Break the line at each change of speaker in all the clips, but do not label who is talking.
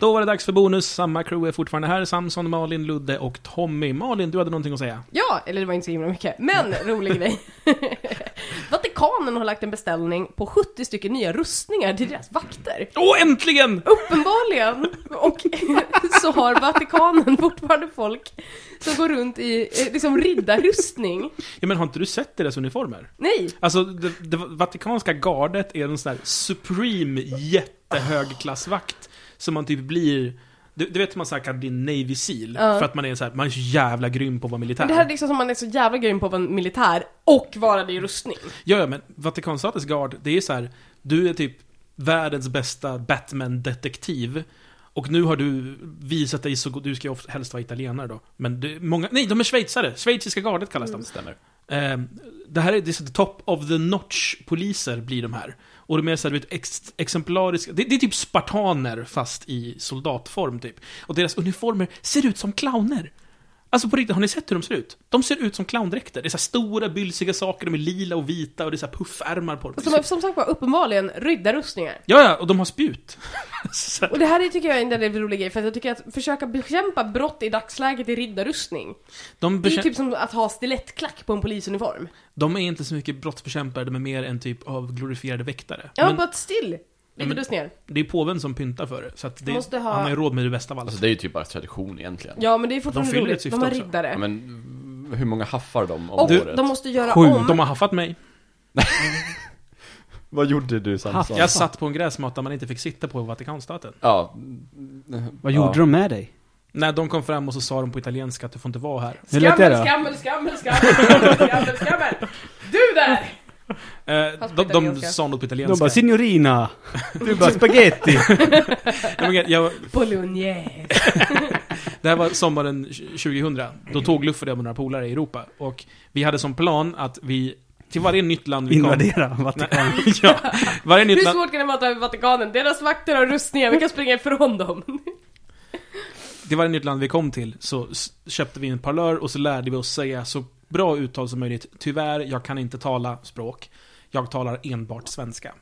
Då var det dags för bonus. Samma crew är fortfarande här. Samson, Malin, Ludde och Tommy. Malin, du hade någonting att säga.
Ja, eller det var inte så himla mycket, men rolig grej. Vatikanen har lagt en beställning på 70 stycken nya rustningar till deras vakter.
Åh, äntligen!
Uppenbarligen! Och så har Vatikanen fortfarande folk som går runt i eh, liksom riddarrustning.
Ja, men har inte du sett deras uniformer?
Nej!
Alltså, det, det vatikanska gardet är en sån här supreme jättehögklassvakt som man typ blir... Du, du vet hur man så här kan bli Navy Seal? För att man är, så här, man är så jävla grym på att vara militär.
Men det här är liksom som man är så jävla grym på att vara en militär och vara det i rustning.
Ja, ja, men Vatikanstatens gard, det är så här, du är typ världens bästa Batman-detektiv. Och nu har du visat dig så god, du ska ju ofta- helst vara italienare då. Men det, är många, nej, de är schweizare! Schweiziska gardet kallas de. Stämmer. det här är, det är så the top of the notch-poliser blir de här. Och de är så här, du vet, ex, exemplariska, det, det är typ spartaner fast i soldatform typ. Och deras uniformer ser ut som clowner. Alltså på riktigt, har ni sett hur de ser ut? De ser ut som clowndräkter. Det är så här stora, bylsiga saker, de är lila och vita och det är så här puffärmar på dem.
Som, är- som sagt var, uppenbarligen riddarrustningar.
Ja, ja, och de har spjut. så här.
Och det här är, tycker jag är en väldigt rolig grej, för att jag tycker att försöka bekämpa brott i dagsläget i riddarrustning,
De,
det är ju
bekä-
typ som att ha stilettklack på en polisuniform.
de är inte så mycket brottsbekämpare, de är mer en typ av glorifierade väktare.
Ja,
Men
but still! Riddarrustningar.
det är påven som pyntar för det, så att det,
Måste ha-
han har ju råd med det bästa av allt.
Alltså det är ju typ bara tradition egentligen.
Ja, men det är fortfarande
De fyller ett
roligt.
syfte
De har
också.
riddare.
Ja, Men mm, hur många haffar de om
och
året?
de måste göra
Sju,
om...
de har haffat mig.
Vad gjorde du Samson?
Jag satt på en gräsmatta man inte fick sitta på i Vatikanstaten.
Ja.
Vad gjorde de med dig?
När de kom fram och så sa de på italienska att du får inte vara här.
Hur lät det
Skammel,
då?
skammel, skammel, skammel, skammel, skammel, skammel! Du där!
Eh,
Fast på
de, de
italienska.
sa något på italienska.
De bara 'Signorina' Du bara 'Spaghetti'
Ja, men jag,
Bolognese.
Det här var sommaren 2000. Då tågluffade jag med några polare i Europa. Och vi hade som plan att vi, till varje nytt land vi kom...
Invadera Vatikanen
ja, varje
Hur
nytt land...
svårt kan det vara att ta över Vatikanen? Deras vakter har rustningar, vi kan springa ifrån dem.
Till varje nytt land vi kom till så s- köpte vi en parlör och så lärde vi oss säga så bra uttal som möjligt. Tyvärr, jag kan inte tala språk. Jag talar enbart svenska.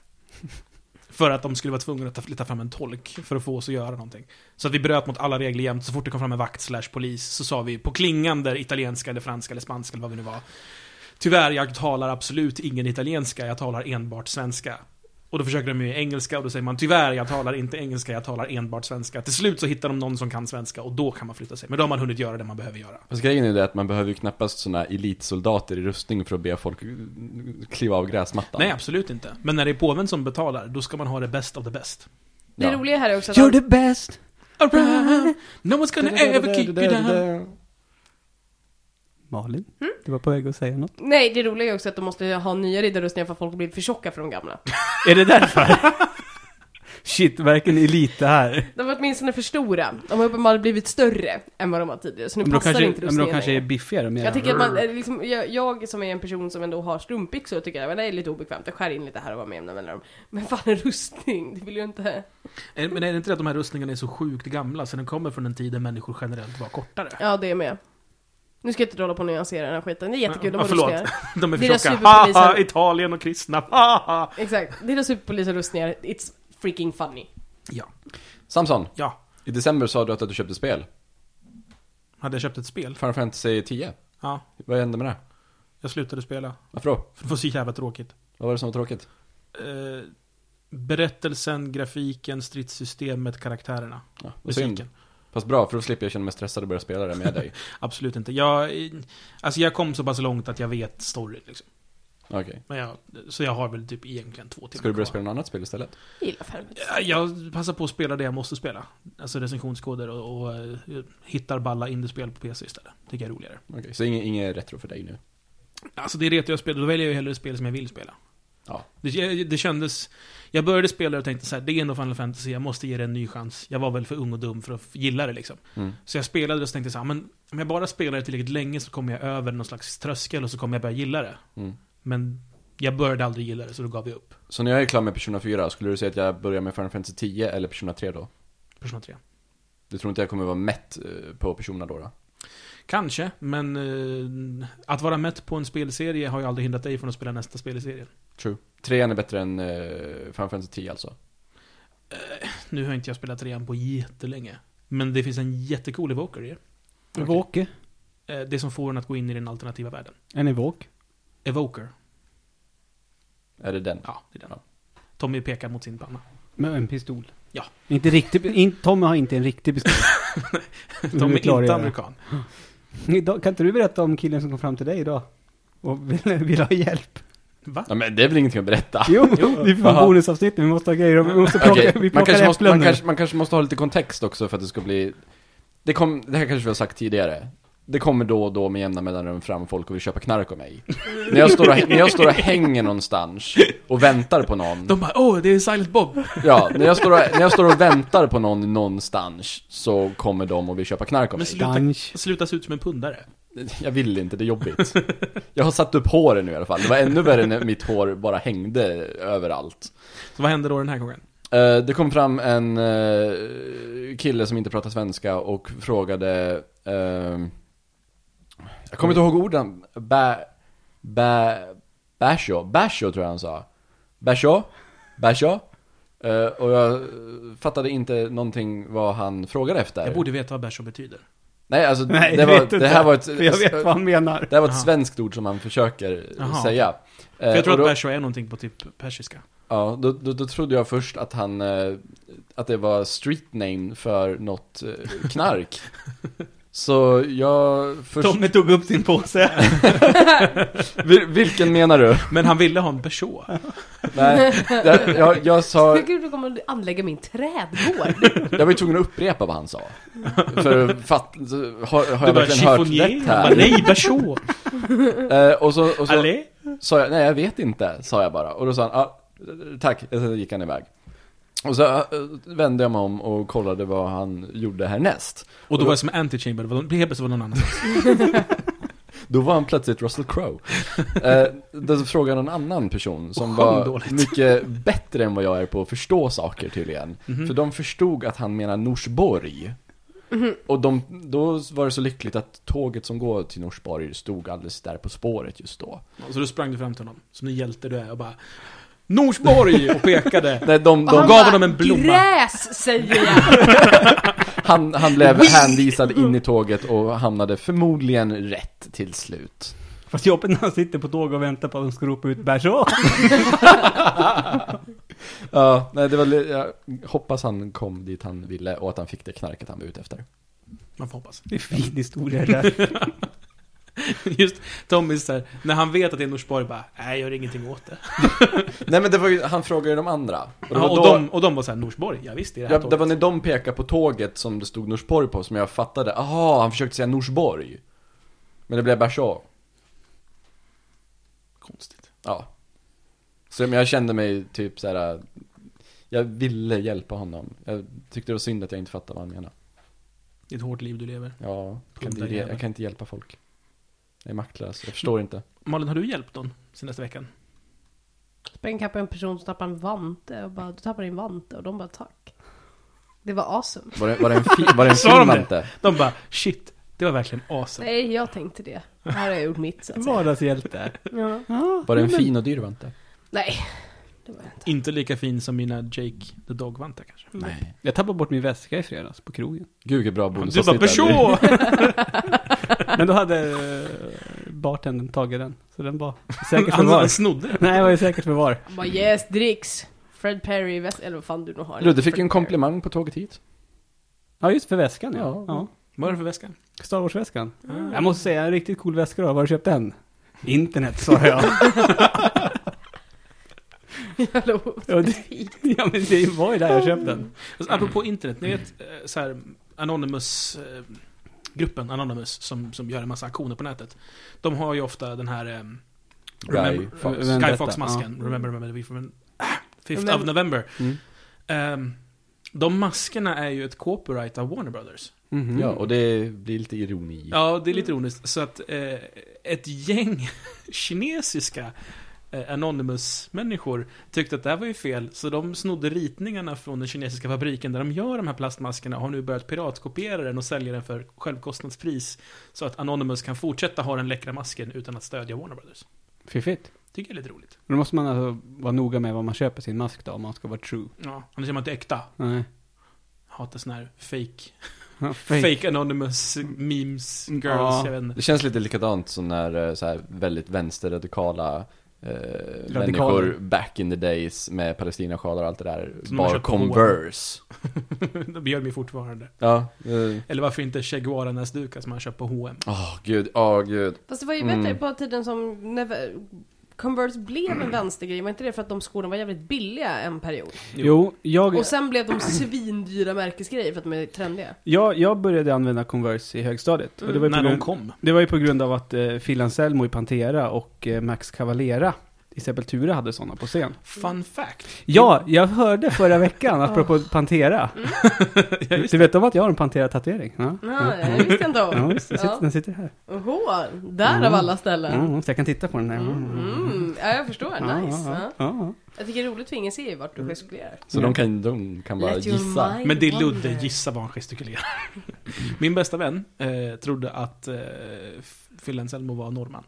För att de skulle vara tvungna att ta- leta fram en tolk för att få oss att göra någonting. Så att vi bröt mot alla regler jämt. Så fort det kom fram en vakt slash polis så sa vi på klingande italienska eller franska eller spanska eller vad vi nu var. Tyvärr, jag talar absolut ingen italienska. Jag talar enbart svenska. Och då försöker de ju engelska och då säger man tyvärr, jag talar inte engelska, jag talar enbart svenska. Till slut så hittar de någon som kan svenska och då kan man flytta sig. Men då har man hunnit göra det man behöver göra.
Fast grejen är det att man behöver ju knappast sådana elitsoldater i rustning för att be folk kliva av gräsmattan.
Nej, absolut inte. Men när det är påven som betalar, då ska man ha det bäst av det bäst.
Det
Ja.
roliga här är också att...
You're the best!
Alright, No one's gonna ever keep you down.
Malin, du var på väg att säga något.
Nej, det roliga är också att de måste ha nya riddarrustningar för att folk har blivit för tjocka för de gamla.
Är det därför? Shit, verkligen elit det här.
De var åtminstone för stora. De har uppenbarligen blivit större än vad de var tidigare, så nu
Men de
passar
kanske,
inte
men de
rustningen
kanske är
längre.
biffigare mer.
Jag tycker att man,
Mm.
eh, liksom, jag, jag som är en person som ändå har strumpbyxor tycker att det är lite obekvämt, jag skär in lite här och var med jämna mellanrum. Men fan en rustning, det vill ju inte...
Eh, Men är det inte det att de här rustningarna är så sjukt gamla, så den kommer från en tid där människor generellt var kortare?
Ja, det är med. Nu ska jag inte hålla på och nyansera den här skiten, det är jättekul,
Ja,
de har
förlåt.
rustningar.
De är för
Deras
tjocka.
superpoliser-
Haha, Italien och kristna. Haha.
Exakt, deras superpoliser rustningar, it's freaking funny.
Ja,
Samson,
ja.
i december sa du att att du köpte spel.
Hade jag köpt ett spel?
Final Fantasy 10.
Ja,
Vad hände med det?
jag slutade spela.
Varför då?
För det var så jävla tråkigt.
Vad var det som var tråkigt?
eh, berättelsen, grafiken, stridssystemet, karaktärerna.
Ja, vad synd.
Musiken.
Fast bra, för då slipper jag känna mig stressad och börja spela det med dig.
Absolut inte. Jag, eh, alltså jag kom så pass långt att jag vet story liksom.
Okej.
Men jag, så jag har väl typ egentligen två timmar
Ska du börja
kvar.
spela något annat spel istället?
Jag gillar Fermit.
Ja, Jag passar på att spela det jag måste spela. Alltså recensionskoder och, och eh, jag hittar balla indiespel på PC istället. Tycker jag är roligare.
Okej, så inget, inget retro för dig nu?
Alltså det är det jag spelar, då väljer jag ju hellre spel som jag vill spela.
Ja.
Det, det kändes... Jag började spela det och tänkte så här, det är ändå Final Fantasy, jag måste ge det en ny chans. Jag var väl för ung och dum för att gilla det liksom.
Mm.
Så jag spelade och så tänkte jag så här, men om jag bara spelar det tillräckligt länge så kommer jag över någon slags tröskel och så kommer jag börja gilla det.
Mm.
Men jag började aldrig gilla det, så då gav jag upp.
Så när jag är klar med Persona 4, skulle du säga att jag börjar med Final Fantasy 10 eller Persona 3 då?
Persona 3.
Du tror inte jag kommer vara mätt eh, på Persona då? då?
Kanske, men eh, att vara mätt på en spelserie har ju aldrig hindrat dig från att spela nästa spel i serien.
True. Trean är bättre än eh, Final Fantasy 10 alltså?
nu har inte jag spelat trean på jättelänge. Men det finns en jättecool evoker i det.
Våke.
Eh, Det som får en att gå in i den alternativa världen.
En evok.
Evoker.
Är det den?
Ja, det är den.
Ja.
Tommy pekar mot sin panna.
Med en pistol.
Ja.
Inte riktigt, in, Tommy har inte en riktig pistol. Vill
Tommy
vi
är inte
klargöra.
amerikan.
Idag, kan inte du berätta om killen som kom fram till dig idag? Och vill, vill ha hjälp?
Va?
Ja, men det är väl ingenting att berätta?
Jo, vi får ha
Aha.
bonusavsnitt nu, vi måste ha grejer. Vi måste plocka,
Okej,
vi
man,
plockar
kanske måste,
äpplen
man,
nu.
kanske, man kanske måste ha lite kontext också för att det ska bli... Det, kom, det här kanske vi har sagt tidigare. Det kommer då och då med jämna mellanrum fram folk och vill köpa knark av mig. när, jag står och, när jag står och hänger någonstans och väntar på någon.
De bara åh, det är Silent Bob!
Ja, när jag, står och, när jag står och väntar på någon någonstans så kommer de och vill köpa knark av
Men
mig.
sluta,
Dansch.
sluta se ut som en pundare.
Jag vill inte, det är jobbigt. Jag har satt upp håret nu i alla fall. Det var ännu värre när mitt hår bara hängde överallt.
Så vad händer då den här gången?
Eh, det kom fram en eh, kille som inte pratar svenska och frågade... eh, jag kommer inte ihåg orden. Ba... Ba... Basho. Basho tror jag han sa. Basho? Basho? Eh, och jag eh, fattade inte någonting vad han frågade efter.
Jag borde veta vad Basho betyder.
Nej, alltså
Nej,
det,
jag vet
var, det här
inte.
var ett...
För jag vet vad han menar.
Det här var ett
Aha.
svenskt ord som han försöker
Jaha.
säga. Eh,
För jag tror
och då-
att Basho är någonting på typ persiska.
Ja, då, då, då trodde jag först att han, eh, att det var street name för något eh, knark. Så jag först...
Tommy tog upp sin påse.
Vil- vilken menar du?
Men han ville ha en Basho.
Nej, jag, jag, jag sa,
Men gud, du kommer att anlägga min trädgård.
jag var ju tvungen att upprepa vad han sa. För att fatta, har, har
Du
jag
bara
verkligen hört
chiffonier.
rätt
Han bara
här?
nej, Basho!
Eh, och så, och så
Allé?
sa jag, nej jag vet inte, sa jag bara. Och då sa han, ah, tack, sen gick han iväg. Och så eh, vände jag mig om och kollade vad han gjorde härnäst.
Och då var det som antichamber, det var- helt plötsligt var det någon annan.
Då var han plötsligt Russell Crowe. Eh, då frågade en annan person som
Och sjöng
var
dåligt.
mycket bättre än vad jag är på att förstå saker tydligen. För de förstod att han menar Norsborg. Och de, då var det så lyckligt att tåget som går till Norsborg stod alldeles där på spåret just då.
Så då sprang du fram till honom, som den hjälte du är, och bara Norsborg! Och pekade.
Nej, de, de,
han gav
han bara,
honom en blomma.
Gräs säger jag!
han, han blev hänvisad in i tåget och hamnade förmodligen rätt till slut.
Fast jobbigt när han sitter på tåg och väntar på att de ska ropa ut bärs. Åh!
Ja, nej, det var, li- jag hoppas han kom dit han ville och att han fick det knarket han var ute efter.
Man får hoppas.
Det är fin historia det där.
Just Tommy så här, när han vet att det är Norsborg, bara nej, jag gör ingenting åt det.
Nej men det var ju, han frågade ju de andra. Och det,
Ja,
var
och,
då,
de, och de var såhär, Norsborg, ja visst, det är det här
ja,
tåget.
det var när de pekade på tåget som det stod Norsborg på som jag fattade, aha, han försökte säga Norsborg. Men det blev Berså.
Konstigt.
Ja. Så men jag kände mig typ så här. jag ville hjälpa honom. Jag tyckte det var synd att jag inte fattade vad han menade.
Det är ett hårt liv du lever.
Ja, jag kan, inte,
Pundarjävel.
jag kan inte hjälpa folk. Jag är maktlös, jag förstår inte.
Malin, har du hjälpt någon senaste veckan?
Sprang ikapp en person som tappade en vante och bara, du tappade din vante och de bara tack. Det var awesome.
Var det, var det en, fi, var det en
Sa de
fin
det?
vante?
De bara, shit, det var verkligen awesome.
Nej, jag tänkte det. Här har jag gjort mitt så att säga.
Vardagshjälte.
Ja.
Ja.
Var det en fin och dyr vante?
Nej, det var jag inte.
Inte lika fin som mina Jake the Dog-vantar kanske.
Nej.
Jag tappade bort min väska i fredags på krogen.
Gud vilket bra
Du bara,
bonusavsnitt det här blir.
Peugeot!
Men då hade eh, bartendern tagit den. Så den var säkert
Han
förvar.
han snodde den.
Nej, jag var ju säkert förvar.
Han bara yes, dricks. Fred Perry, väst, eller vad fan du nu har.
Ludde fick ju
Fred Perry.
en komplimang på tåget hit.
Ja, just för väskan ja.
Ja.
ja.
Vad är det för väska?
Star Wars-väskan.
Mm.
Ah.
Jag måste säga, en riktigt cool väska då. Var har du köpt den? Internet, sa jag.
Jävla
ja, det,
ofint.
ja, men det var ju där jag köpte den.
Alltså, apropå internet, ni vet eh, så här, Anonymous eh, gruppen Anonymous som, som gör en massa aktioner på nätet. De har ju ofta den här eh,
Guy
Remember-
Fox.
Vem
Sky
detta?
Fox-masken. Remember, remember, we from ah, 5th
Remember-
of November.
Mm.
Ehm, de maskerna är ju ett copyright av Warner Brothers.
Mhm.
Ja, och det blir lite ironi.
Ja, det är lite ironiskt. Så att eh, ett gäng kinesiska eh, Anonymous-människor tyckte att det här var ju fel, så de snodde ritningarna från den kinesiska fabriken där de gör de här plastmaskerna och har nu börjat piratkopiera den och sälja den för självkostnadspris. Så att Anonymous kan fortsätta ha den läckra masken utan att stödja Warner Brothers.
Fiffigt.
Tycker jag är lite roligt.
Men Då måste man alltså vara noga med vad man köper sin mask då, om man ska vara true.
Ja, annars är man inte äkta.
Nej.
hatar såna här fake,
Ja, fake.
fake. anonymous memes, girls,
Ja.
jag vet inte.
Det känns lite likadant som när eh, så här, väldigt vänsterradikala eh,
Radikaler.
människor back in the days med palestinasjalar och allt det där
Som de har
bar
köpt på H&M.
Converse.
De gör de ju fortfarande.
Ja. eh,
Eller varför inte Che Guevara-näsdukar som man köpt på H&M
Åh gud, åh gud.
Fast det var ju bättre
Mm.
på tiden som när Converse blev en vänstergrej, var inte det för att de skorna var jävligt billiga en period?
Jo, jag,
Och sen blev de svindyra märkesgrejer för att de är trendiga.
jag, jag började använda Converse i högstadiet. Och det, var ju på
Mm, När de
grund,
kom.
det var ju på grund av att eh, Phil Anselmo i Pantera och eh, Max Cavalera i Sepultura hade sådana på scen.
Fun fact.
Ja, jag hörde förra veckan, apropå Pantera.
Mm.
Ja,
Du vet om att jag har en Pantera-tatuering? Ja.
Ja, jag visste inte om.
Ja, visst, den sitter,
Ja.
den sitter här.
Oho, där av alla ställen.
Mm, så jag kan titta på den här.
Mm. Mm. Ja, jag förstår.
Ja,
Nice.
ja,
Ja.
ja.
Jag tycker det är roligt för ingen ser ju vart du gestikulerar.
Så de kan, de kan bara
Let your
gissa.
mind
Men det är
wander.
Ludde, gissa vad han gestikulerar. Min bästa vän eh, trodde att eh, Phil Anselmo var norrman.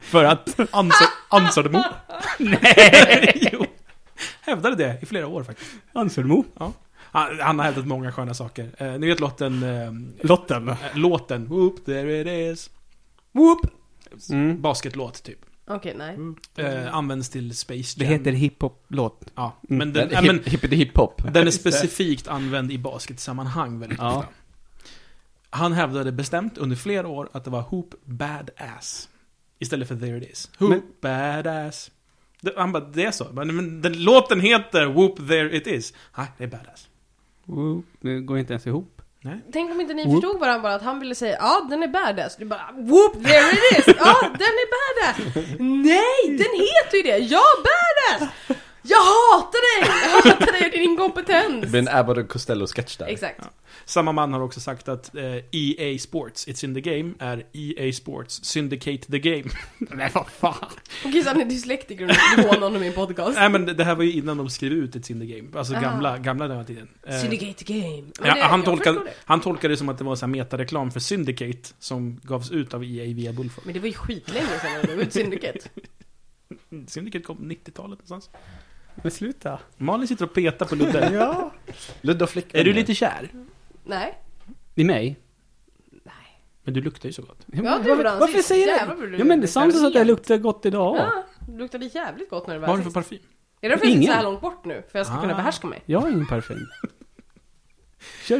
För att Ans- Anselmo... Nej! jo. Hävdade det i flera år faktiskt.
Anselmo.
Han, han har hävdat många sköna saker. Eh, ni vet låten... Eh,
Lotten.
eh, låten... Whoop, there it is.
Whoop. Mm.
Basketlåt, typ.
Okej, nej.
Eh, används till Space
Det
Jam.
heter Mm. hiphop-låt.
Ja, men den,
Den,
ja, men,
hip, hippity hiphop.
den är specifikt använd i basketsammanhang väldigt
Ja.
ofta. Han hävdade bestämt under flera år att det var Hoop Badass. Istället för There It Is. Hoop
Men-
Badass. Det, han bara, det är så. Men, men den, låten heter Whoop There It Is. Nej, det är Badass.
Whoop. Det går inte ens ihop.
Tänk om inte ni
Whoop.
förstod varandra bara, att han ville säga ja den är badass. Du bara whoop there it is! Ja den är badass! Nej den heter ju det! Ja badass! Jag hatar dig! Jag hatar dig och din
Det
inkompetens!
blir en Abbott och Costello-sketch där.
Exakt.
Samma man har också sagt att eh, EA Sports, It's in the game, är EA Sports Syndicate the game.
Nej, vad fan.
Och gud han är dyslektiker och nu hånar honom i en podcast.
Nej men det här var ju innan de skrev ut It's in the game. Alltså
Ah.
gamla, gamla den här tiden. Eh,
Syndicate the game. Men
Ja,
det-
han,
jag
tolkade,
förstår det.
han tolkade det som att det var så här metareklam för Syndicate som gavs ut av EA via Bullfrog.
Men det var ju skitlänge sedan han var ut Syndicate.
Syndicate kom 90-talet någonstans.
Men sluta.
Malin sitter och petar på Ludde.
Ja.
Ludde och flickvän.
är du lite kär?
Nej.
I mig?
Men du luktar ju så gott.
det
Ja, varför,
gjorde han
varför
sist.
säger
Jävlar vad
du
du
Ja men det
luktar
sams att det
rent.
luktar gott idag. Ja,
Ja, det luktade jävligt gott när det
Vad har
var
du för
sist.
parfym?
Är det därför jag sitter så här
Ingen.
långt bort nu? För jag ska
Ah.
kunna behärska mig.
Jag har ingen parfym. Kör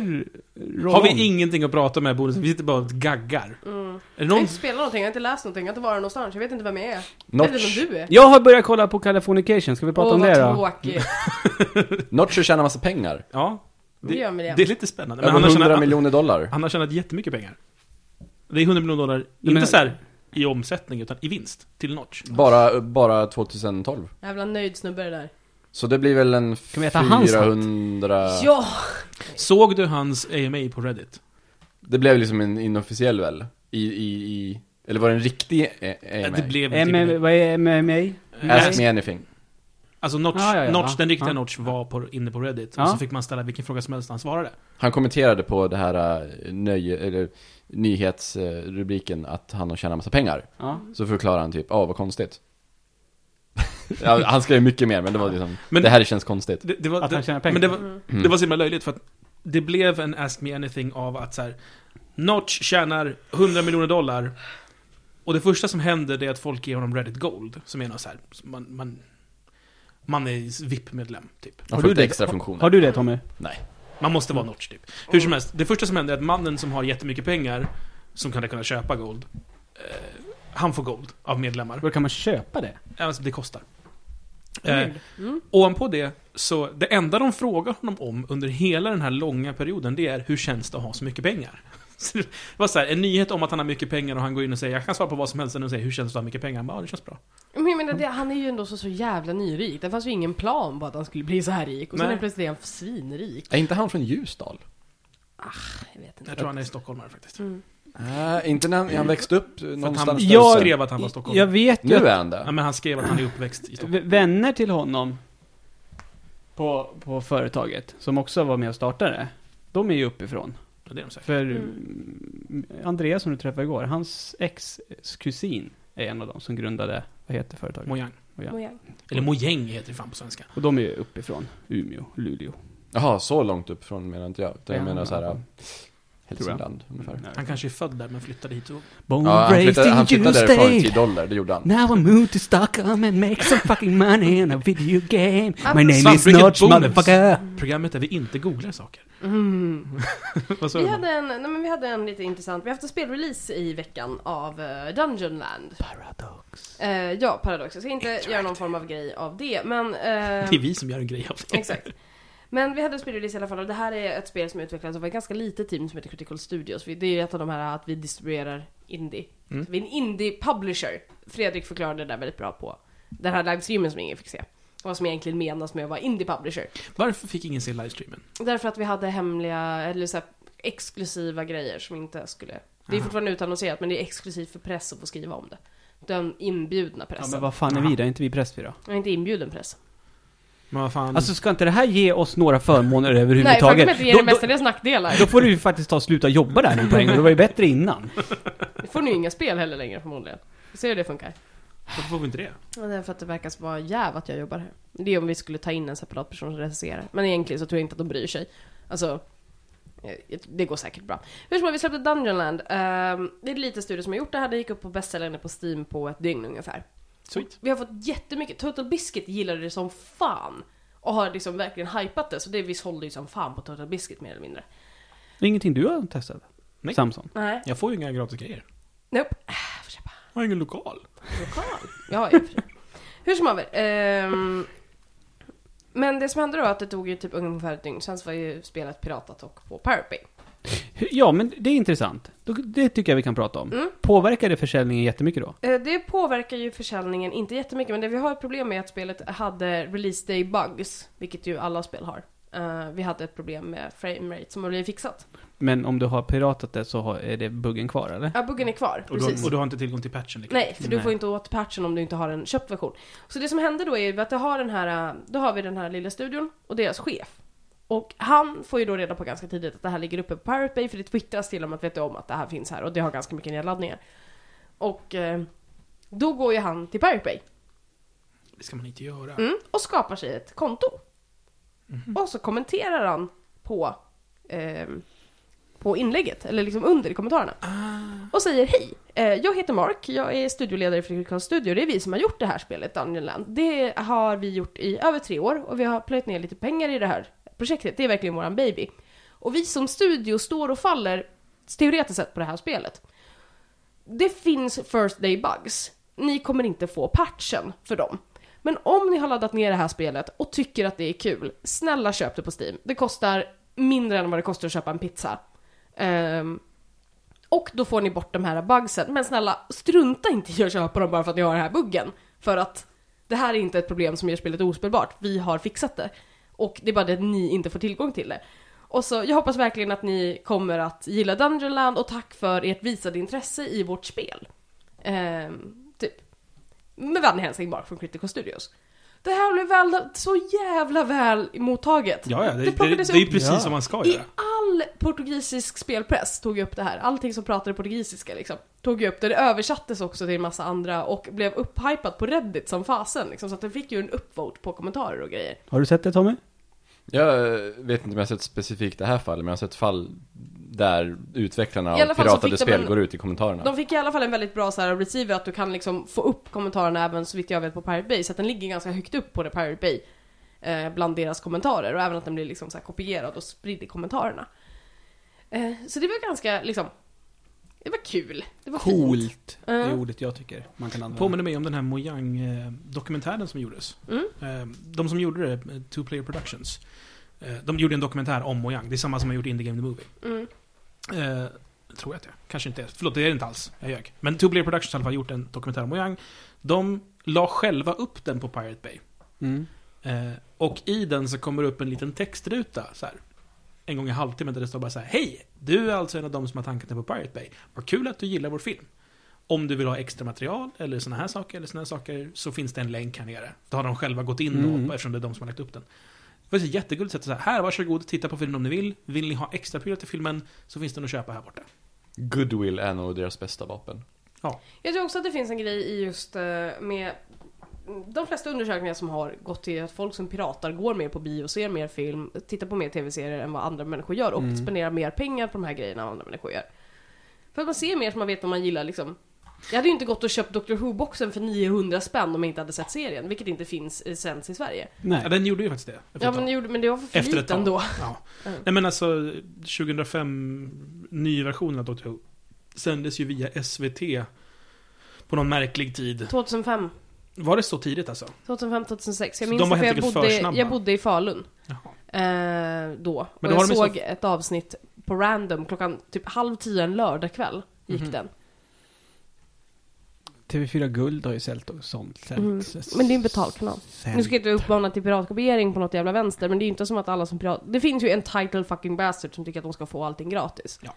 eh, roll
Har
on.
vi ingenting att prata om här bonusen? Vi sitter bara och gaggar.
Mm.
Är det
Jag har
någon...
inte spelat någonting, jag har inte läst någonting, jag har inte varit någonstans, jag vet inte vem jag är. Jag vet
Notch,
inte vem du är.
Jag har börjat kolla på Californication, ska vi prata
Åh,
om
vad
det då?
tråkigt.
Notch och tjänar massa pengar.
Ja.
Det gör med det.
det är lite spännande. Men
Över
han har,
100
tjänat,
miljoner dollar.
han har tjänat jättemycket pengar. Det är 100 miljoner dollar, inte
men-
så här i omsättning, utan i vinst. Till Notch.
Bara, bara 2012.
Jävla nöjd snubbe det där.
Så det blir väl en
vi äta hans hatt?
400...
Ja!
Såg du hans AMA på Reddit?
Det blev liksom en inofficiell väl? I, i, i... Eller var det en riktig eh, AMA?
Det blev inte
M- vad är MMA?
Ask me anything.
Alltså Notch,
Ah, ja, ja,
Notch
ja.
den riktiga
Ja.
Notch var på, inne på Reddit.
Ja.
Och så fick man ställa vilken fråga som helst och han svarade.
Han kommenterade på det här eh, nöje, eller nyhetsrubriken att han har tjänat massa pengar.
Ja.
Så förklarar han typ, ja vad konstigt. ja, han skrev mycket mer men det var liksom,
Men-
det här känns konstigt.
Det, det var,
Att
det,
han tjänar pengar.
Men det var,
Mm.
det var så himla löjligt för att det blev en Ask Me Anything av att så här, Notch tjänar 100 miljoner dollar. Och det första som händer det är att folk ger honom Reddit Gold. Som är något så här, som man, man, man är VIP-medlem, typ.
Han
Har
får
du
lite
det?
extra funktioner.
Har du det Tommy?
Nej.
Man måste vara Notch, typ. Hur som helst, det första som händer är att mannen som har jättemycket pengar, som kan kunna köpa Gold, eh, han får Gold av medlemmar.
Var kan man köpa det?
Alltså, det kostar. Eh,
Weird. Mm.
Ovanpå det, så det enda de frågar honom om under hela den här långa perioden, det är hur känns det att ha så mycket pengar? Så det var så här, en nyhet om att han har mycket pengar och han går in och säger jag kan svara på vad som helst och säger hur känns det att ha mycket pengar? Han bara, ja, det känns bra.
Men jag menar, det, han är ju ändå så, så jävla nyrik. Det fanns ju ingen plan på att han skulle bli så här rik. Och sen
Nej.
är plötsligt är han svinrik.
Är inte han från Ljusdal?
Jag vet inte.
Jag tror han är stockholmare faktiskt.
Mm.
Nej, inte när han, han växte upp
För
eh,
att han
någonstans
jag
sen.
skrev att han var
Jag
stockholmare.
vet
Nu
ju
är han
Ja,
det.
men han skrev att han är uppväxt i Stockholm.
V- vänner till honom på, på företaget, som också var med och startade, de är ju uppifrån.
Ja, Det är de säkert.
För mm, Andreas som du träffade igår, hans ex-kusin är en av dem som grundade, vad heter företaget?
Mojang.
Mojang.
Eller Mojäng heter det fan på svenska.
Och de är ju uppifrån, Umeå, Luleå.
Jaha, så långt uppifrån menar inte jag. Utan jag
Ja,
menar så här, eh,
ja.
Hälsingland ungefär.
Mm. Han kanske är född där men flyttade hit. Och...
Born
Ja, han
raised
flyttade,
in
han flyttade
Tuesday.
därifrån till dollar, det gjorde han.
Now I move to Stockholm and make some fucking money in a video game. My name is
Svartbruket
Notch,
bonus.
motherfucker.
Programmet där vi inte googlar saker.
Mm.
Vad sa
Vi
du?
hade en, nej men vi hade en lite intressant, vi har haft en spelrelease i veckan av eh, Dungeonland.
Paradox.
Eh, ja, Paradox. Jag ska inte göra någon form av grej av det, men... eh,
Det är vi som gör en grej av det.
Exakt. Men vi hade en spelrelease i alla fall och det här är ett spel som utvecklats av ett ganska litet team som heter Critical Studios. Vi- Det är ett av de här att vi distribuerar indie.
Mm.
Så vi är en indie-publisher. Fredrik förklarade det där väldigt bra på den här livestreamen som ingen fick se. Vad som egentligen menas med att vara indie-publisher.
Varför fick ingen se livestreamen?
Därför att vi hade hemliga, eller så här, exklusiva grejer som inte skulle... Det är
Mm.
Aha.
fortfarande utannonserat men det är exklusivt för press att få skriva om det. Den inbjudna
Ja,
pressen.
men vad fan är vi då? Är inte vi pressfyra?
Ja, inte inbjuden press.
Men vad fan.
Alltså ska inte det här ge oss några förmåner
Nej, faktum
överhuvudtaget?
är att det ger det
då, då,
mestadels nackdelar.
då får du ju faktiskt ta och sluta jobba där nu på en gång. Det var ju bättre innan.
Nu får ni ju inga spel heller längre förmodligen. Vi ser hur det funkar.
Varför får vi inte det?
Ja, det är för att det verkar vara jäv att jag jobbar här. Det är om vi skulle ta in en separat person som recenserar. Men egentligen så tror jag inte att de bryr sig. Alltså, eh, det går säkert bra. Hur som helst, vi släppte Dungeonland. Ehm, det är en liten studio som har gjort det här. Det gick upp på bästsäljande på Steam på ett dygn ungefär.
Sweet.
Vi har fått jättemycket. Total Biscuit gillade det som fan. Och har liksom verkligen hypat det. Så det vi sålde ju som fan på Total Biscuit mer eller mindre.
Det är ingenting du har testat?
Nej.
Samson?
Nej.
Jag får ju inga gratis grejer.
Nope. Ah, jag får köpa
Jag har ingen lokal.
lokal. Ja, i och för sig. Hur som haver. ehm, men det som hände då var att det tog ju typ ungefär ett dygn. Sen så var ju spelet piratat och på Pirate Bay.
Ja, men det är intressant. Då- Det tycker jag vi kan prata om.
Mm.
Påverkar det försäljningen jättemycket då?
Eh, Det påverkar ju försäljningen inte jättemycket men det vi har ett problem med är att spelet hade release day bugs, vilket ju alla spel har. Eh, vi hade ett problem med framerate som har blivit fixat.
Men om du har piratat det så har, är det buggen kvar eller?
Ja, buggen är kvar.
Och
precis.
du, och du har inte tillgång till patchen? lika
Nej, för du
Nej.
får inte åt patchen om du inte har en köpt version. Så det som hände då är ju att det har den här, eh, då har vi den här lilla studion och deras chef. Och han får ju då reda på ganska tidigt att det här ligger uppe på Pirate Bay för det twittras till om att vet du om att det här finns här och det har ganska mycket nedladdningar. Och eh, då går ju han till Pirate Bay
Det ska man inte göra.
mm, och skapar sig ett konto. Och så kommenterar han på, ehm, på inlägget, eller liksom under i kommentarerna. Och säger hej, eh, jag heter Mark, jag är studioledare för Critical Studio, det är vi som har gjort det här spelet Dungeon Land. Det har vi gjort i över tre år och vi har plöjt ner lite pengar i det här projektet, det är verkligen våran baby. Och vi som studio står och faller teoretiskt sett på det här spelet. Det finns first day bugs. Ni kommer inte få patchen för dem. Men om ni har laddat ner det här spelet och tycker att det är kul, snälla köp det på Steam. Det kostar mindre än vad det kostar att köpa en pizza. Ehm, och då får ni bort de här bugsen. Men snälla, strunta inte i att köpa dem bara för att ni har den här buggen. För att det här är inte ett problem som gör spelet ospelbart. Vi har fixat det. Och det är bara det att ni inte får tillgång till det. Och så, jag hoppas verkligen att ni kommer att gilla Dungeonland och tack för ert visade intresse i vårt spel. Ehm, typ. Med vänlig hälsning Mark från Critical Studios. Det här blev väl, så jävla väl mottaget.
Ja, ja, det, det, det,
plockades
är ju
upp
precis
Ja.
som man ska
i
göra.
all portugisisk spelpress tog jag upp det här. Allting som pratade portugisiska liksom, tog jag upp det. Det översattes också till en massa andra och blev upphypat på Reddit som fasen. Liksom, så att det fick ju en uppvote på kommentarer och grejer.
Har du sett det
Mm.
Tommy?
Jag eh, vet inte om jag har sett specifikt det här fallet, men jag har sett fall där utvecklarna
I alla
av
fall så
piratade
fick de
spel
en-
går ut i kommentarerna.
De fick i alla fall en väldigt bra så här, receiver att du kan liksom få upp kommentarerna även så vitt jag vet på Pirate Bay. Så att den ligger ganska högt upp på det Pirate Bay. Eh, bland deras kommentarer och även att den blir liksom så här kopierad och spridd i kommentarerna. Eh, så det var ganska liksom, det var kul. Det var fint.
Coolt. Det
Ja.
är ordet jag tycker man kan använda.
Påminner mig om den här Mojang-dokumentären som gjordes.
Mm.
Eh, De som gjorde det, eh, Two Player Productions, eh, de gjorde en dokumentär om Mojang. Det är samma som har gjort Indie Game The Movie.
Mm.
Eh, tror jag att det är. Kanske inte är. Förlåt, det är det inte alls. Jag ljög. Men Two Player Productions har i alla fall gjort en dokumentär om Mojang. De la själva upp den på Pirate Bay.
Mm.
Eh, och i den så kommer det upp en liten textruta så här. En gång i halvtimmen där det står bara så här. Hej! Du är alltså en av de som har tankarna på Pirate Bay. Vad kul att du gillar vår film. Om du vill ha extra material eller såna här saker eller såna här saker så finns det en länk här nere. Då har de själva gått in
Mm.
då eftersom det är de som har lagt upp den. Det var ett jättegulligt sätt att säga här, varsågod, titta på filmen om ni vill. Vill ni ha extra prylar till filmen så finns den att köpa här borta.
Goodwill är nog deras bästa vapen.
Jag tror också att det finns en grej i just eh, med de flesta undersökningar som har gått till att folk som piratar går mer på bio, ser mer film, tittar på mer tv-serier än vad andra människor gör och
Mm.
spenderar mer pengar på de här grejerna än vad andra människor gör. För att man ser mer som man vet vad man gillar liksom. Jag hade ju inte gått och köpt Doctor Who-boxen för 900 spänn om jag inte hade sett serien, vilket inte finns i sens i Sverige.
Ja,
Nej.
den gjorde ju faktiskt det. efter ett
Ja
tag.
men, det gjorde- men det var för
Efter ett tag.
liten då.
Ja.
Mm.
Nej men alltså, 2005, nyversionen av Doctor Who sändes ju via SVT på någon märklig tid.
2005,
Var det så tidigt alltså?
2005, 2006. Jag
Så
minns
de var
det för
helt
jag
enkelt
bodde,
för snabba.
jag bodde i Falun.
Jaha.
Eh, då.
Men då
och
har de
jag
ju
såg ett avsnitt på random klockan typ halv tio en lördagkväll. Gick
Mhm.
den.
TV4 Guld har ju sålt och sånt. sålt-
Mm.
s-
Men det är en betalkanal.
sänt.
Nu ska jag inte uppmana till piratkopiering på något jävla vänster, men det är ju inte som att alla som pirat... Det finns ju en title fucking bastard som tycker att de ska få allting gratis.
Ja.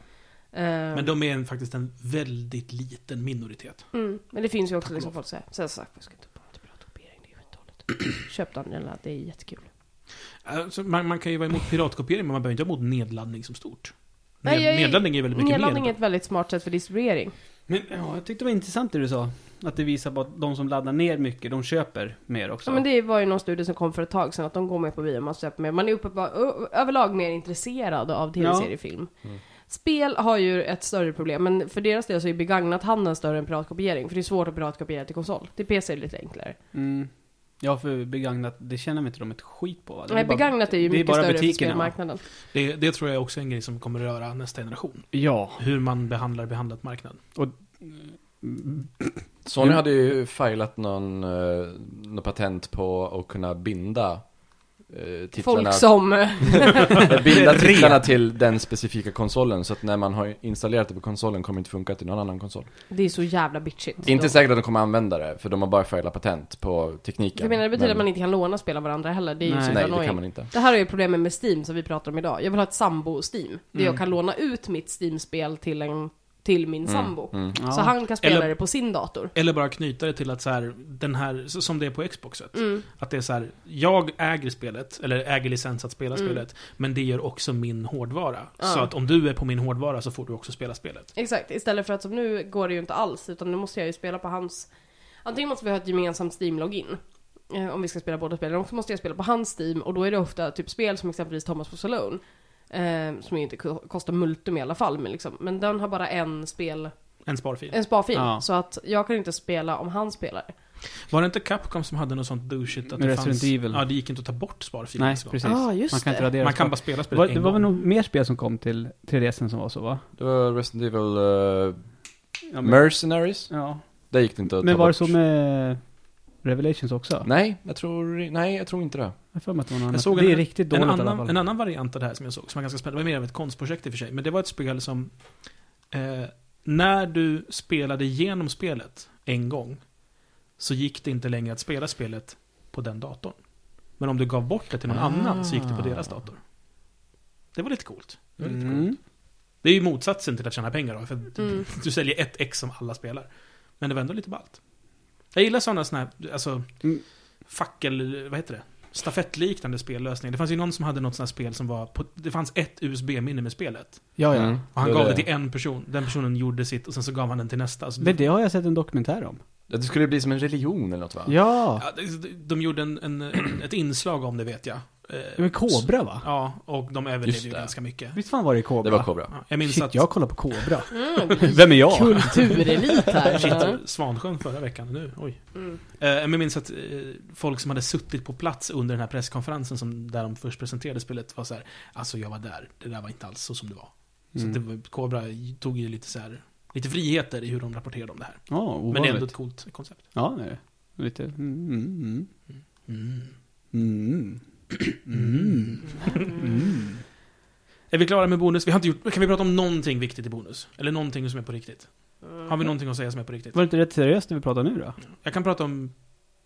Eh,
Men de är en, faktiskt en väldigt liten minoritet.
mm, men det finns ju också
Tack och
liksom
lov.
folk som säger, sen sagt, jag ska inte uppmana till piratkopiering, det är ju skitdåligt. Köp Daniela, det är jättekul.
Alltså, man, man kan ju vara emot piratkopiering, men man behöver inte vara emot nedladdning som stort. Ned,
Nej, jag är-
nedladdning är väldigt mycket
Nedladdning är
mer.
ett väldigt smart sätt för distribuering.
Men ja, jag tyckte det var intressant det du sa. Att det visar på att de som laddar ner mycket, de köper mer också.
Ja, men det var ju någon studie som kom för ett tag sedan att de går med på bio, man köper mer. Man är uppenbar, ö- överlag mer intresserad av tv-seriefilm. Spel har ju ett större problem, men för deras del så är ju begagnat handeln större än piratkopiering. För det är svårt att piratkopiera till konsol. Till PC är det lite enklare.
Mm. Ja, för begagnat, det känner inte de ett skit på va? Det
Nej,
bara-
begagnat är ju
det
mycket
bara
större
butikerna,
för spelmarknaden.
Det, det tror jag också är en grej som kommer röra nästa generation.
va? Ja.
Hur man behandlar behandlat marknad.
Sony
Mm.
hade ju filat någon, eh, något patent på att kunna binda eh, titlarna,
Folk som...
binda titlarna till den specifika konsolen. Så att när man har installerat det på konsolen kommer det inte funka till någon annan konsol.
det är så jävla bitchigt.
Inte säkert att de kommer använda det, för de har bara filat patent på tekniken.
Jag menar, det betyder att man inte kan låna spel av varandra heller. Det är ju
Nej.
så
Nej,
jävla
det kan
annoying.
man inte.
Det här är ju problemet med Steam som vi pratar om idag. Jag vill ha ett sambo-Steam. Där jag kan låna ut mitt Steam-spel till, en, till min sambo.
Mm.
ja.
Så han kan spela
Eller-
det på sin dator.
Eller bara knyta det till att så här, den här, så- som det är på Xboxet.
Mm.
Att det är så här, jag äger spelet, eller äger licens att spela
Mm.
spelet, men det gör också min hårdvara.
Ja.
Så att om du är på min hårdvara så får du också spela spelet.
Exakt, istället för att som nu går det ju inte alls, utan nu måste jag ju spela på hans... Antingen måste vi ha ett gemensamt Steam-login, eh, om vi ska spela båda spelen, eller också måste jag spela på hans Steam, och då är det ofta typ spel som exempelvis Thomas for Alone, eh, som ju inte ko- kostar multum i alla fall, men, liksom, men den har bara en spel,
En sparfil.
en sparfil,
Ja.
så att jag kan inte spela om han spelar.
Var det inte Capcom som hade något sånt douchigt? Att
Med
det
Resident
fanns,
Evil.
Ja, det gick inte att ta bort sparfilen.
Nej,
ens en gång.
precis.
Ah, just
man kan
det.
inte radera
Man
spel.
kan bara spela
Det
spelet
var,
en
det var
gång.
väl nog mer spel som kom till 3DSen som var så va?
Det var Resident Evil eh,
Ja, men,
Mercenaries.
ja.
Det gick det inte att
men
ta
var det
bort.
så med Revelations också?
Nej, jag tror, nej, jag tror inte det.
Jag har för mig att det var någon
Jag
annan.
såg
det är
en-
riktigt
En
dåligt i alla
annan,
fall.
en annan variant av det här som jag såg, som var ganska spännande, det var mer av ett konstprojekt i och för sig, men det var ett spel som... Eh, när du spelade igenom spelet en gång, så gick det inte längre att spela spelet på den datorn. Men om du gav bort det till någon
Ah.
annan så gick det på deras dator. Det var lite coolt. Det, var lite coolt.
Mm.
det är ju motsatsen till att tjäna pengar då, för att du-
Mm.
du säljer ett ex som alla spelar. Men det var ändå lite ballt. Jag gillar sådana såna här, alltså,
Mm.
fackel, vad heter det? Stafettliknande spellösningar. Det fanns ju någon som hade något sånt här spel som var, på, det fanns ett USB-minne med spelet.
Ja, ja.
Mm.
Och han
Det-
gav
det-
det till en person, den personen gjorde sitt och sen så gav han den till nästa. Alltså,
Men
det,
det har jag sett en dokumentär om.
Det skulle bli som en religion eller något va?
Ja.
ja, det- de gjorde en, en, en, ett inslag om det vet jag. Eh,
Det var Kobra va?
Ja, och de
Just
överlevde ju
det.
ganska mycket.
Visst fan var det Kobra?
Det var Kobra.
Ja, jag minns
Shit,
att...
jag kollar på Kobra.
Mm,
Vem är jag?
kulturelit
Äh,
här. Mm.
Shit, Äh, Svansjön förra veckan, nu, oj.
Mm.
Eh, Men jag minns att eh, folk som hade suttit på plats under den här presskonferensen som, där de först presenterade spelet var så här, alltså jag var där, det där var inte alls så som det var. Så
Mm.
att det var, Cobra tog ju lite så här, lite friheter i hur de rapporterade om det här.
Ja, ovanligt.
Men det är ändå ett coolt koncept.
Ja, det är det. Lite... Mm, mm,
Mm.
mm. Mm.
Är vi klara med bonus? Vi har inte gjort, kan vi prata om någonting viktigt i bonus? Eller någonting som är på riktigt? Har vi någonting att säga som är på riktigt?
Var det inte rätt seriöst när vi pratar nu då?
Jag kan prata om...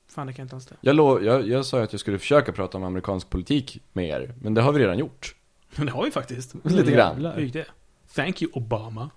Fan, det kan jag inte alls det.
Jag, lo, jag, jag sa ju att jag skulle försöka prata om amerikansk politik med er, men det har vi redan gjort.
Men det har vi faktiskt.
Lite grann.
Hur gick det? Thank you Obama.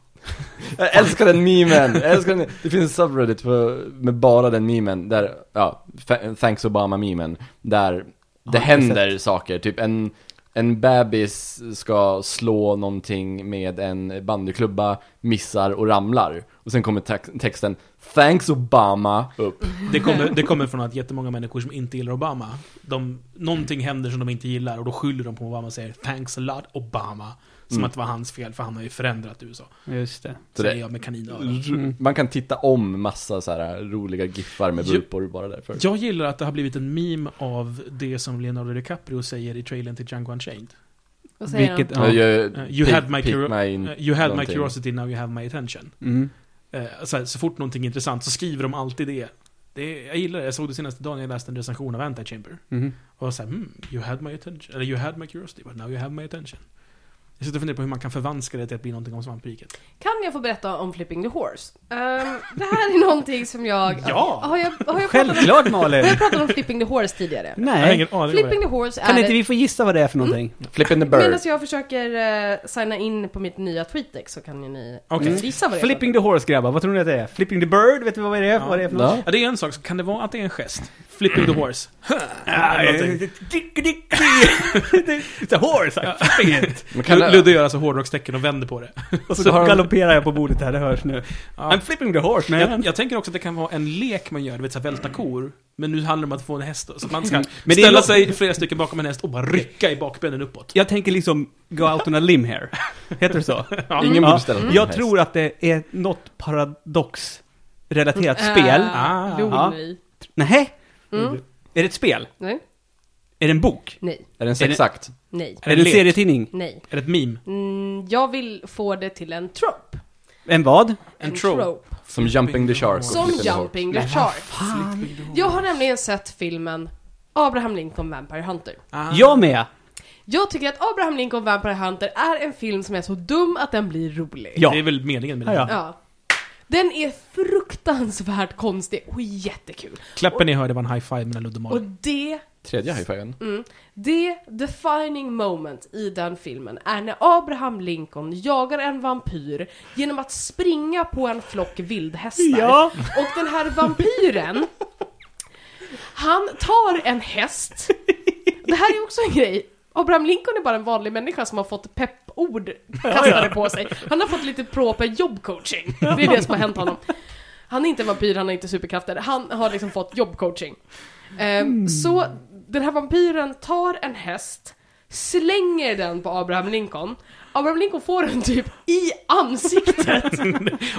Jag älskar den memen! Jag älskar den. Det finns en subreddit för, med bara den memen, där, ja, fa- thanks Obama-memen, där det
inte
händer saker, typ en, en bebis ska slå någonting med en bandyklubba, missar och ramlar. Och sen kommer tex- texten Thanks Obama upp.
Det kommer, det kommer från att jättemånga människor som inte gillar Obama, de, någonting händer som de inte gillar och då skyller de på Obama och säger 'Thanks a lot Obama' Som
Mm.
att det var hans fel, för han har ju förändrat USA.
Just det.
Så
Säger
det-
jag med kaninöron.
Mm.
Man kan titta om massa så här roliga giffar med
Jo.
vulpor bara därför.
Jag gillar att det har blivit en meme av det som Leonardo DiCaprio säger i trailern till Django Unchained.
Vad säger
Vilket-
han?
Ja.
Jag gör-
Eh, you
pick-
had my
pick
curi-
my in-
Eh, You had my
Mm. någonting.
curiosity, now you have my attention.
Mm.
Eh, Så, här, så fort någonting är intressant så skriver de alltid det. det jag gillar det, jag såg det senaste dagen jag läste en recension av Anti-Chamber.
Mm.
Och jag såhär, mm, you had my attention. Eller you had my curiosity, but now you have my attention. Jag sitter och funderar på hur man kan förvanska det till att bli någonting om svampriket.
Kan jag få berätta om Flipping the Horse? Ehm, det här är någonting som jag...
Ja!
Har jag, har jag pratat om,
Självklart Malin!
har jag pratat om Flipping the Horse tidigare?
Jag har
Nej.
ingen aning om det.
Flipping the Horse är... Mm.
Kan
ett-
inte vi få gissa vad det är för någonting?
Flipping the bird.
Medan jag försöker eh, signa in på mitt nya Tweetex så kan ju ni mm,
Okej.
gissa vad det är.
Flipping the horse grabbar, vad tror ni att det är? Flipping the bird, vet du vad det är?
Ja.
Vad det är för något?
Ja.
Ja, det är en sak. Kan det vara att det är en gest? Flipping the horse.
Ah,
Eller någonting.
dick, dick, dick. It's a horse, I'm flipping it.
Men kan det-
Ludde gör alltså hårdrockstecken och vänder på det.
Och så
Så har de-
galopperar jag på bordet här, det hörs nu.
Ja.
I'm flipping the horse man.
Jag, jag tänker också att det kan vara en lek man gör, du vet såhär välta kor. Men nu handlar det om att få en häst då. Så att man ska
Men det är
ställa
lo-
sig flera stycken bakom en häst och bara rycka i bakbenen uppåt.
Jag tänker liksom go out on a limb here. Heter det så?
Ingen borde ställa sig på en
Jag
häst.
tror att det är något paradox-relaterat
Mm.
spel.
Ah.
Ah,
Lol,
Ja.
nej.
Nej,
Mm.
Är det ett spel?
Nej.
Är det en bok?
Nej.
Är den sexakt?
Är
Nej.
Är
det en
det en,
lek?
serietidning?
Nej.
är det ett meme?
Mm, jag vill få det till en trope.
En vad?
En trope.
Som Jumping the Shark. och
Som
Flipping the Horse.
Jumping the Shark. Jag har nämligen sett filmen Abraham Lincoln Vampire Hunter.
Ah.
Jag med!
Jag tycker att Abraham Lincoln Vampire Hunter är en film som är så dum att den blir rolig.
Ja.
Det är väl meningen med det.
Ja, ja.
Ja. Den är fruktansvärt konstig och jättekul.
Klappen ni hörde var en high five mellan Ludde och
Och
Malin.
det
Tredje high-fiven.
Mm. Det defining moment i den filmen är när Abraham Lincoln jagar en vampyr genom att springa på en flock vildhästar.
Ja.
Och den här vampyren, han tar en häst. Det här är också en grej. Abraham Lincoln är bara en vanlig människa som har fått peppord kastade på sig. Han har fått lite proper jobbcoaching. Det är det som har hänt honom. Han är inte en vampyr, han har inte superkrafter. Han har liksom fått jobbcoaching. Ehm, Så den här vampyren tar en häst, slänger den på Abraham Lincoln. Abraham Lincoln får den typ i ansiktet,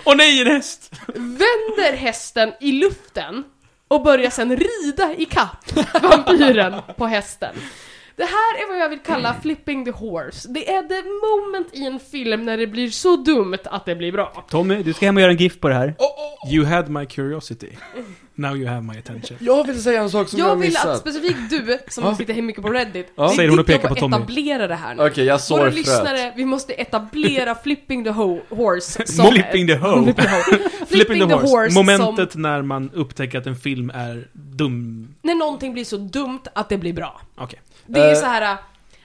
Åh nej, en häst!
vänder hästen i luften och börjar sen rida i kapp vampyren på hästen. Det här är vad jag vill kalla flipping the horse. Det är the moment i en film när det blir så dumt att det blir bra.
Tommy, du ska hem och göra en GIF på det här.
You had my curiosity. Now you have my attention.
Jag vill säga en sak som jag,
Jag
har
vill att
missat.
specifikt du som
Ja.
sitter hemma mycket på Reddit,
Ja.
det är
Säger hon och
ditt jobb
pekar på
att
Tommy.
etablera det här nu.
Okej, jag sår
Våra
fröet.
lyssnare, vi måste etablera Flipping the Ho- Horse som...
Flipping the hoe.
Flipping the Ho. Flipping,
Flipping the horse.
som...
Momentet när man upptäcker att en film är dum...
När någonting blir så dumt att det blir bra.
Okej.
Det är ju
Eh.
så här.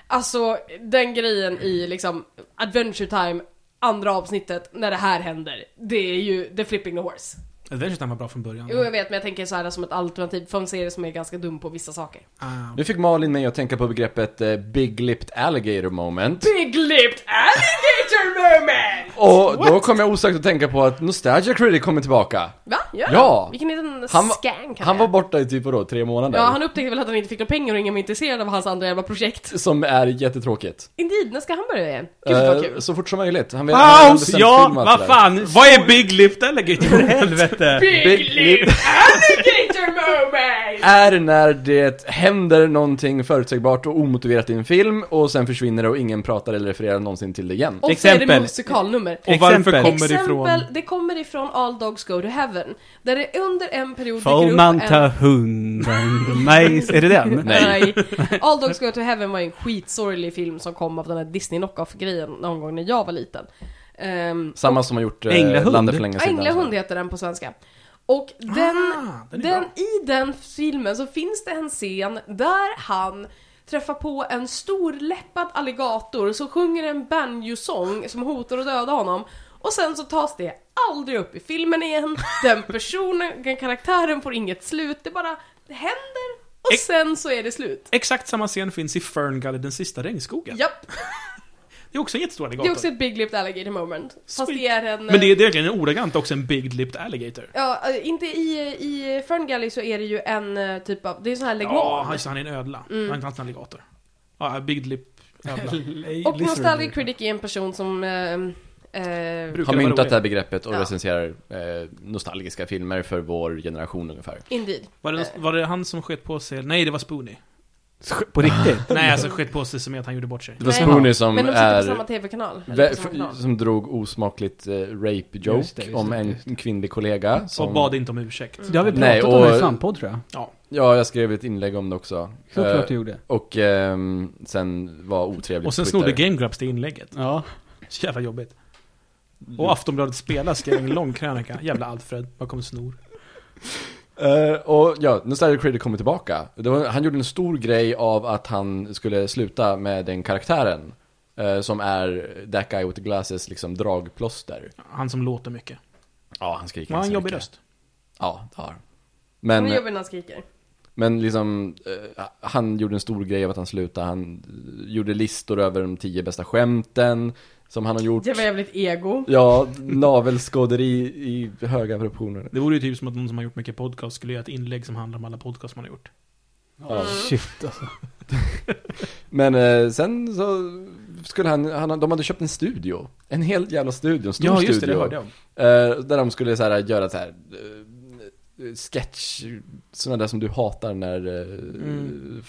alltså den grejen i liksom Adventure Time, andra avsnittet, när det här händer. Det är ju the Flipping the Horse.
Adventure Time var bra från början.
Jo jag vet, men jag tänker så här som ett alternativ för en serie som är ganska dum på vissa saker.
Ah,
Nu fick Malin mig att tänka på begreppet eh, Big Lipped Alligator Moment.
Big Lipped Alligator Moment!
Och då kom jag osökt att tänka på att Nostalgia Critic kommer tillbaka.
Va? Gör
Ja.
han? Vilken liten
Han var-
skank
Han
är.
var borta i typ vadå, tre månader?
Ja, han upptäckte väl att han inte fick några pengar och ingen var intresserad av hans andra jävla projekt.
Som är jättetråkigt.
Indeed, när ska han börja igen? Gud vad
Eh,
kul.
Så fort som möjligt. Han vet han har
Paus!
bestämt
Ja,
filmat det
vad
där.
fan!
Vad är Big Lift Alligator?
Helvete!
Big Lip
alligator moment!
är när det händer någonting förutsägbart och omotiverat i en film och sen försvinner det och ingen pratar eller refererar någonsin till det igen.
Och så är det
Exempel.
musikalnummer.
Och varför
Exempel.
kommer det
Exempel,
ifrån...
det kommer ifrån All Dogs Go To Heaven. Där det under en period
Får
dyker
man
upp
ta
en...
hunden? Nej, är det den?
Nej.
All Dogs Go To Heaven var ju en skitsorglig film som kom av den här Disney knockoff-grejen någon gång när jag var liten. Um,
Samma som har gjort eh,
Änglahund.
Landet för länge sedan.
Änglahund heter den på svenska. Och den,
Ah, den
den,
är bra.
i den filmen så finns det en scen där han träffar på en storläppad alligator som sjunger en banjo-sång som hotar att döda honom. Och sen så tas det aldrig upp i filmen igen, den personen, den karaktären får inget slut, det bara händer och
Ex-
sen så är det slut.
Exakt samma scen finns i Ferngully, den sista regnskogen.
Japp.
Det är också en jättestor alligator.
Det är också ett big lipped alligator moment. Fast
Sweet.
det är en...
Men det är, det är verkligen ordagrant också en big lipped alligator.
Ja, eh, inte i, i Ferngully så är det ju en eh, typ av, det är sån här leguan.
Ja, han, han är en ödla.
Mm.
Han är inte alls en alligator. Ja, big lip ödla.
och Nostalgic Critic är en person som... Eh, eh,
Brukar
Har
det vara
myntat
roligt?
det här begreppet och
Ja.
recenserar eh, nostalgiska filmer för vår generation ungefär.
indeed.
Var det, var det han som sket på sig? Nej, det var Spoonie.
På riktigt?
Nej, alltså sket på sig som är att han gjorde bort sig.
Det var
Nej.
Spoonie som
Men de sitter på
är...
samma TV-kanal. eller
Vä-
på samma kanal.
som drog osmakligt eh, rape joke
Just det, just
om
det,
en
just det.
kvinnlig kollega som...
Och bad inte om ursäkt.
Det har Mm. vi
Nej,
pratat om
och-
i Svampodd tror jag.
Ja, jag skrev ett inlägg om det också. Eh,
Såklart du gjorde.
och ehm, sen var otrevlig
Och sen
på
snodde
Twitter.
Game Grumps det inlägget.
Ja.
Så jävla jobbigt. Och Aftonbladet Spela skrev en lång krönika. Jävla Alfred, vad kommer snor.
Eh, och ja, Nostalgic Critic kommer tillbaka. Det var, han gjorde en stor grej av att han skulle sluta med den karaktären. eh, som är That Guy With The Glasses liksom dragplåster.
Han som låter mycket.
Ja, han skriker
Han har en
ganska
jobbig
mycket.
röst.
Ja, det har han.
Han är
Men,
jobbig när han skriker.
men liksom, eh, han gjorde en stor grej av att han slutade. Han eh, gjorde listor över de tio bästa skämten som han har gjort.
Det var jävligt ego.
Ja, navelskåderi i höga proportioner.
Det vore ju typ som att någon som har gjort mycket podcast skulle göra ett inlägg som handlar om alla podcast man har gjort.
Ja.
Shit alltså.
Men eh, sen så skulle han, han, de hade köpt en studio. En hel jävla studio, en stor
Ja, just det,
studio.
det hörde jag om.
Eh, där de skulle så här, göra så här, eh, sketch, sådana där som du hatar när, eh,
Mm.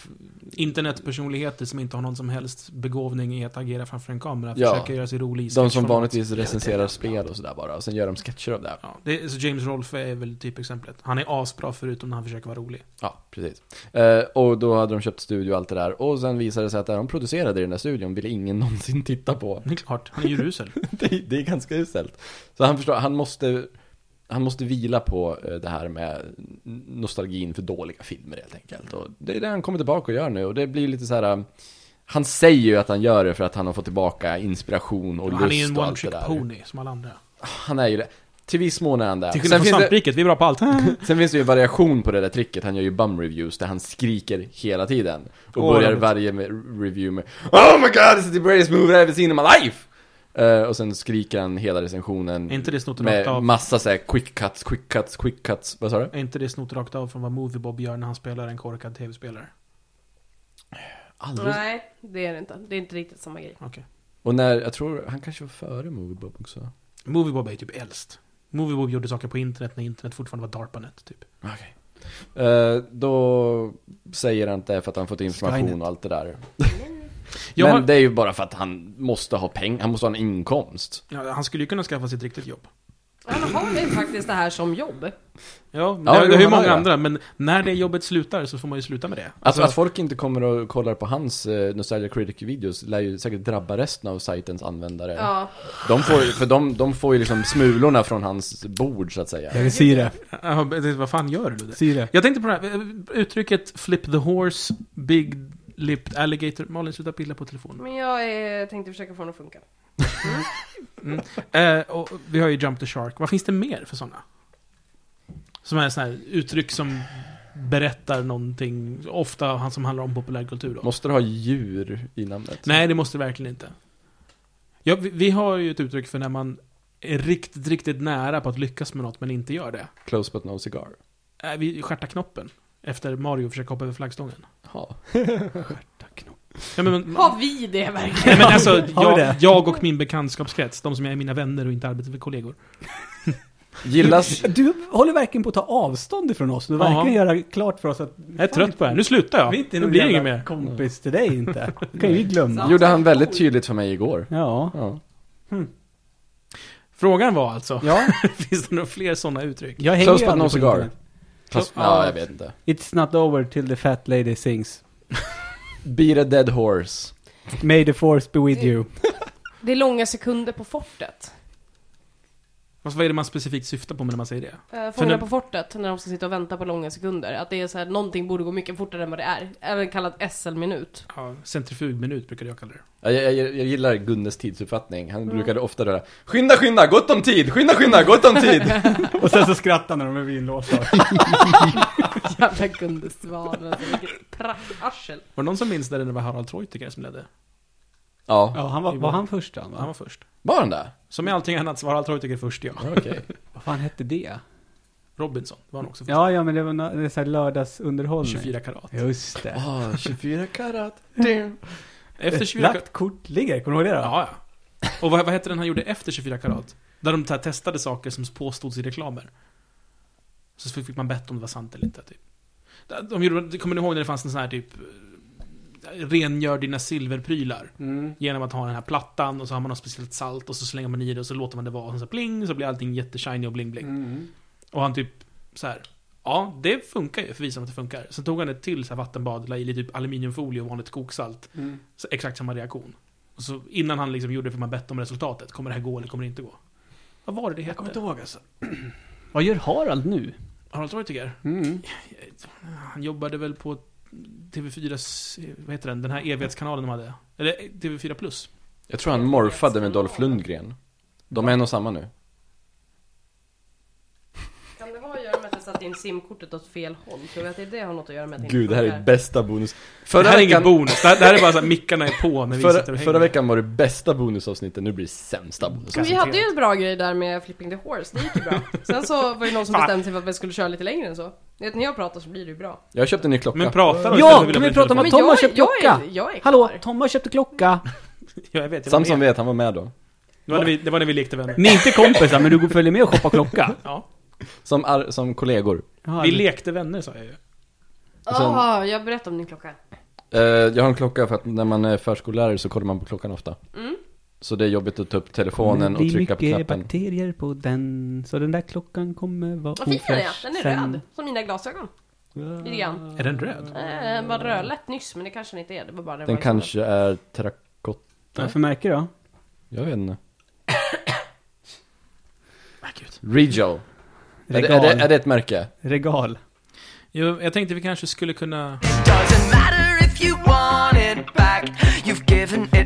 Internetpersonligheter som inte har någon som helst begåvning i att agera framför en kamera.
Ja.
Försöker göra sig rolig i
de som
sketchformat.
vanligtvis recenserar spel och sådär bara, och sen gör de sketcher av det.
Ja, det är, så James Rolfe är väl typ exemplet. Han är asbra förutom när han försöker vara rolig.
Ja, precis. Eh, och då hade de köpt studio och allt det där, och sen visade det sig att det de producerade i den där studion ville ingen någonsin titta på.
Det är klart, han är ju rusel.
det, är- det är ganska uselt. Så han förstår, han måste, han måste vila på eh, det här med nostalgin för dåliga filmer helt enkelt. Och det är det han kommer tillbaka och gör nu och det blir lite så här. eh, Han säger ju att han gör det för att han har fått tillbaka inspiration och
han är ju
lust
en
och allt det
one-trick
där.
pony som alla andra.
Han är ju det. Till viss mån är han där.
Till skillnad från
Sen finns, det,
svampriket, vi är bra på allt.
sen finns det ju en variation på det där tricket. Han gör ju bum reviews där han skriker hela tiden. Och
Åh,
börjar
roligt.
varje med- review med Oh my god, this is the greatest movie I've ever seen in my life! Eh, och sen skriker han hela recensionen
är inte det snott rakt
med
av?
massa såhär quick cuts, quick cuts, quick cuts. Vad sa du?
Är inte det snott rakt av från vad Moviebob gör när han spelar en korkad tv-spelare?
Aldrig.
Nej, det är det inte. Det är inte riktigt samma grej.
Okej.
Och när, jag tror, han kanske var före Moviebob också.
Moviebob är ju typ äldst. Moviebob gjorde saker på internet när internet fortfarande var DARPANET, typ.
Okej. Eh, då säger han inte för att han fått information
Skynet.
och allt det där.
Jag
Men
har-
det är ju bara för att han måste ha pengar, han måste ha en inkomst.
Ja, han skulle ju kunna skaffa sig ett riktigt jobb.
Han har ju faktiskt det här som jobb.
Ja, men det,
Ja,
det
jo,
är ju
han har
många
det.
andra, men när det jobbet slutar så får man ju sluta med det.
Alltså
Alltså,
att folk inte kommer och kollar på hans eh, Nostalgia Critic-videos lär ju säkert drabba resten av sajtens användare.
Ja.
De får, för de, de får ju liksom smulorna från hans bord så att säga.
Jag vill se det.
ja, det- vad fan gör du?
Se det.
Jag tänkte på det här eh, uttrycket 'flip the horse, big lipped alligator' Malin, sluta pilla på telefonen.
Men jag eh, tänkte försöka få den att funka.
Eh, och vi har ju Jump the Shark. Vad finns det mer för sådana? Som är sådana här uttryck som berättar någonting, ofta han som handlar om populärkultur då.
Måste du ha djur i namnet?
Nej, det måste det verkligen inte. Ja, vi, vi har ju ett uttryck för när man är riktigt, riktigt nära på att lyckas med något men inte gör det.
Close but no cigar.
Eh, vi stjärtar knoppen. Efter Mario försöker hoppa över flaggstången.
Ja.
Ja, men, men,
Har vi det verkligen?
nej, men alltså,
vi
jag,
det?
jag och min bekantskapskrets, de som jag är mina vänner och inte arbetar med kollegor.
Gillas...
Du håller verkligen på att ta avstånd ifrån oss. Du
Ja.
verkligen göra klart för oss att...
Jag är trött på det här. Nu slutar jag.
Vi är inte
nu
någon
blir det inget
jävla
mer.
kompis till dig inte. Det kan ju vi glömma.
gjorde han väldigt tydligt för mig igår.
Ja.
Ja.
Frågan var alltså,
Ja,
finns det några fler sådana uttryck?
jag hänger
Close
ju
but
aldrig
no
på
cigar.
internet.
Fast,
Ja.
ja, jag vet inte.
It's not over till the fat lady sings.
Beat a dead horse.
May the force be with you.
Det är långa sekunder på fortet.
Fast vad är det man specifikt syftar på med när man säger det? För
Eh, Fångarna
när-
på fortet, när de ska sitta och vänta på långa sekunder. Att det är så här, någonting borde gå mycket fortare än vad det är. Även kallat SL-minut.
Ja, centrifugminut brukar jag kalla det.
Ja, Jag, jag, jag gillar Gunnes tidsuppfattning. Han brukade ofta röra Skynda, skynda, gott om tid! Skynda, skynda, gott om tid!
Och sen så skrattar när de är vinlåtar.
Jävla Gunde Svan, alltså vilket prackarsel.
Var det någon som minns när det var Harald Treutiger som ledde?
Ja.
Ja, han var, var han först han, va?
Han var först.
Var den där?
Som i allting annat så var allt tycker först ja.
Ja, Okej.
Vad fan hette det?
Robinson var han också först.
Ja, ja, men det var nå- det är så här lördagsunderhållning.
24 karat.
Just det.
Ah, 24 karat.
Efter
Ett
24 karat.
Lagt kort ligger, kommer du ihåg det då?
Ja, ja. Och vad, vad hette den han gjorde efter 24 karat? Där de så här testade saker som påstods i reklamer. Så fick man bett om det var sant eller inte, typ. De gjorde, kommer ni ihåg när det fanns en sån här typ... eh, Rengör dina silverprylar.
Mm.
Genom att ha den här plattan och så har man något speciellt salt och så slänger man i det och så låter man det vara. Och så, så pling, så blir allting jätteshiny och bling bling.
Mm.
Och han typ så här. Ja, det funkar ju, för visar att det funkar. Sen tog han ett till så här vattenbad, la i lite typ aluminiumfolie och vanligt koksalt.
Mm.
Så exakt samma reaktion. Och så innan han liksom gjorde det för man bett om resultatet. Kommer det här gå eller kommer det inte gå? Vad var det det
Jag kommer inte
hette?
ihåg alltså. Vad gör Harald nu?
Harald Treutiger?
Mm.
Han jobbade väl på TV4s, vad heter den, den här evighetskanalen de hade? Eller eh, TV4 Plus?
Jag tror han morfade med Dolph Lundgren. De är en och samma nu.
Kan det ha att göra med att jag satte in simkortet åt fel håll? Tror du att det är det har något att göra med att det inte
Gud, det här är
funkar?
bästa bonus.
Förra det
Förra
här är ingen
veckan,
bonus, det här, det här är bara så att mickarna är på när vi sitter
förra,
och hänger.
förra veckan var det bästa bonusavsnittet, nu blir det sämsta bonusavsnittet.
Men vi hade ju en bra grej där med Flipping the Horse, det gick ju bra. Sen så var det någon som
Fan.
bestämde sig för att vi skulle köra lite längre än så. Ni Vet, när jag pratar så blir det ju bra.
Jag köpte en ny klocka.
Men prata då istället,
Ja,
vill jag
kan vi
bli
prata om att
Men
Tom
jag
har
är-
köpt
jag är-
klocka?
jag är
Hallå,
klar.
Tom har köpt klocka.
Ja, jag vet. Jag var
Samson
med.
vet, han var med då.
Det, var när vi, det var när vi lekte vänner.
Ni är inte kompisar, men du går- följer med och shoppar klocka.
Ja.
Som, ar- som kollegor.
Ja,
Vi lekte vänner sa jag ju.
Och
Ah,
sen-
jag berättar om din klocka.
Eh, jag har en klocka för att när man är förskollärare så kollar man på klockan ofta.
Mm.
Så det är jobbigt att ta upp telefonen och trycka på
Det är mycket
knappen.
bakterier på den, så den där klockan kommer vara
Vad fin den är! Den är
sen.
röd, som mina glasögon. Lite grann.
Är den röd?
Nej, den var rödlätt nyss, men det kanske den inte är. Det var bara det
Ah. Den
var
kanske är terrakotta.
Vad för märke då?
Jag vet inte.
Nej, gud.
Regal. Är det, är,
Regal.
det, är det ett märke?
Regal.
Jo, jag tänkte vi kanske skulle kunna...
Doesn't matter if you want it back. You've given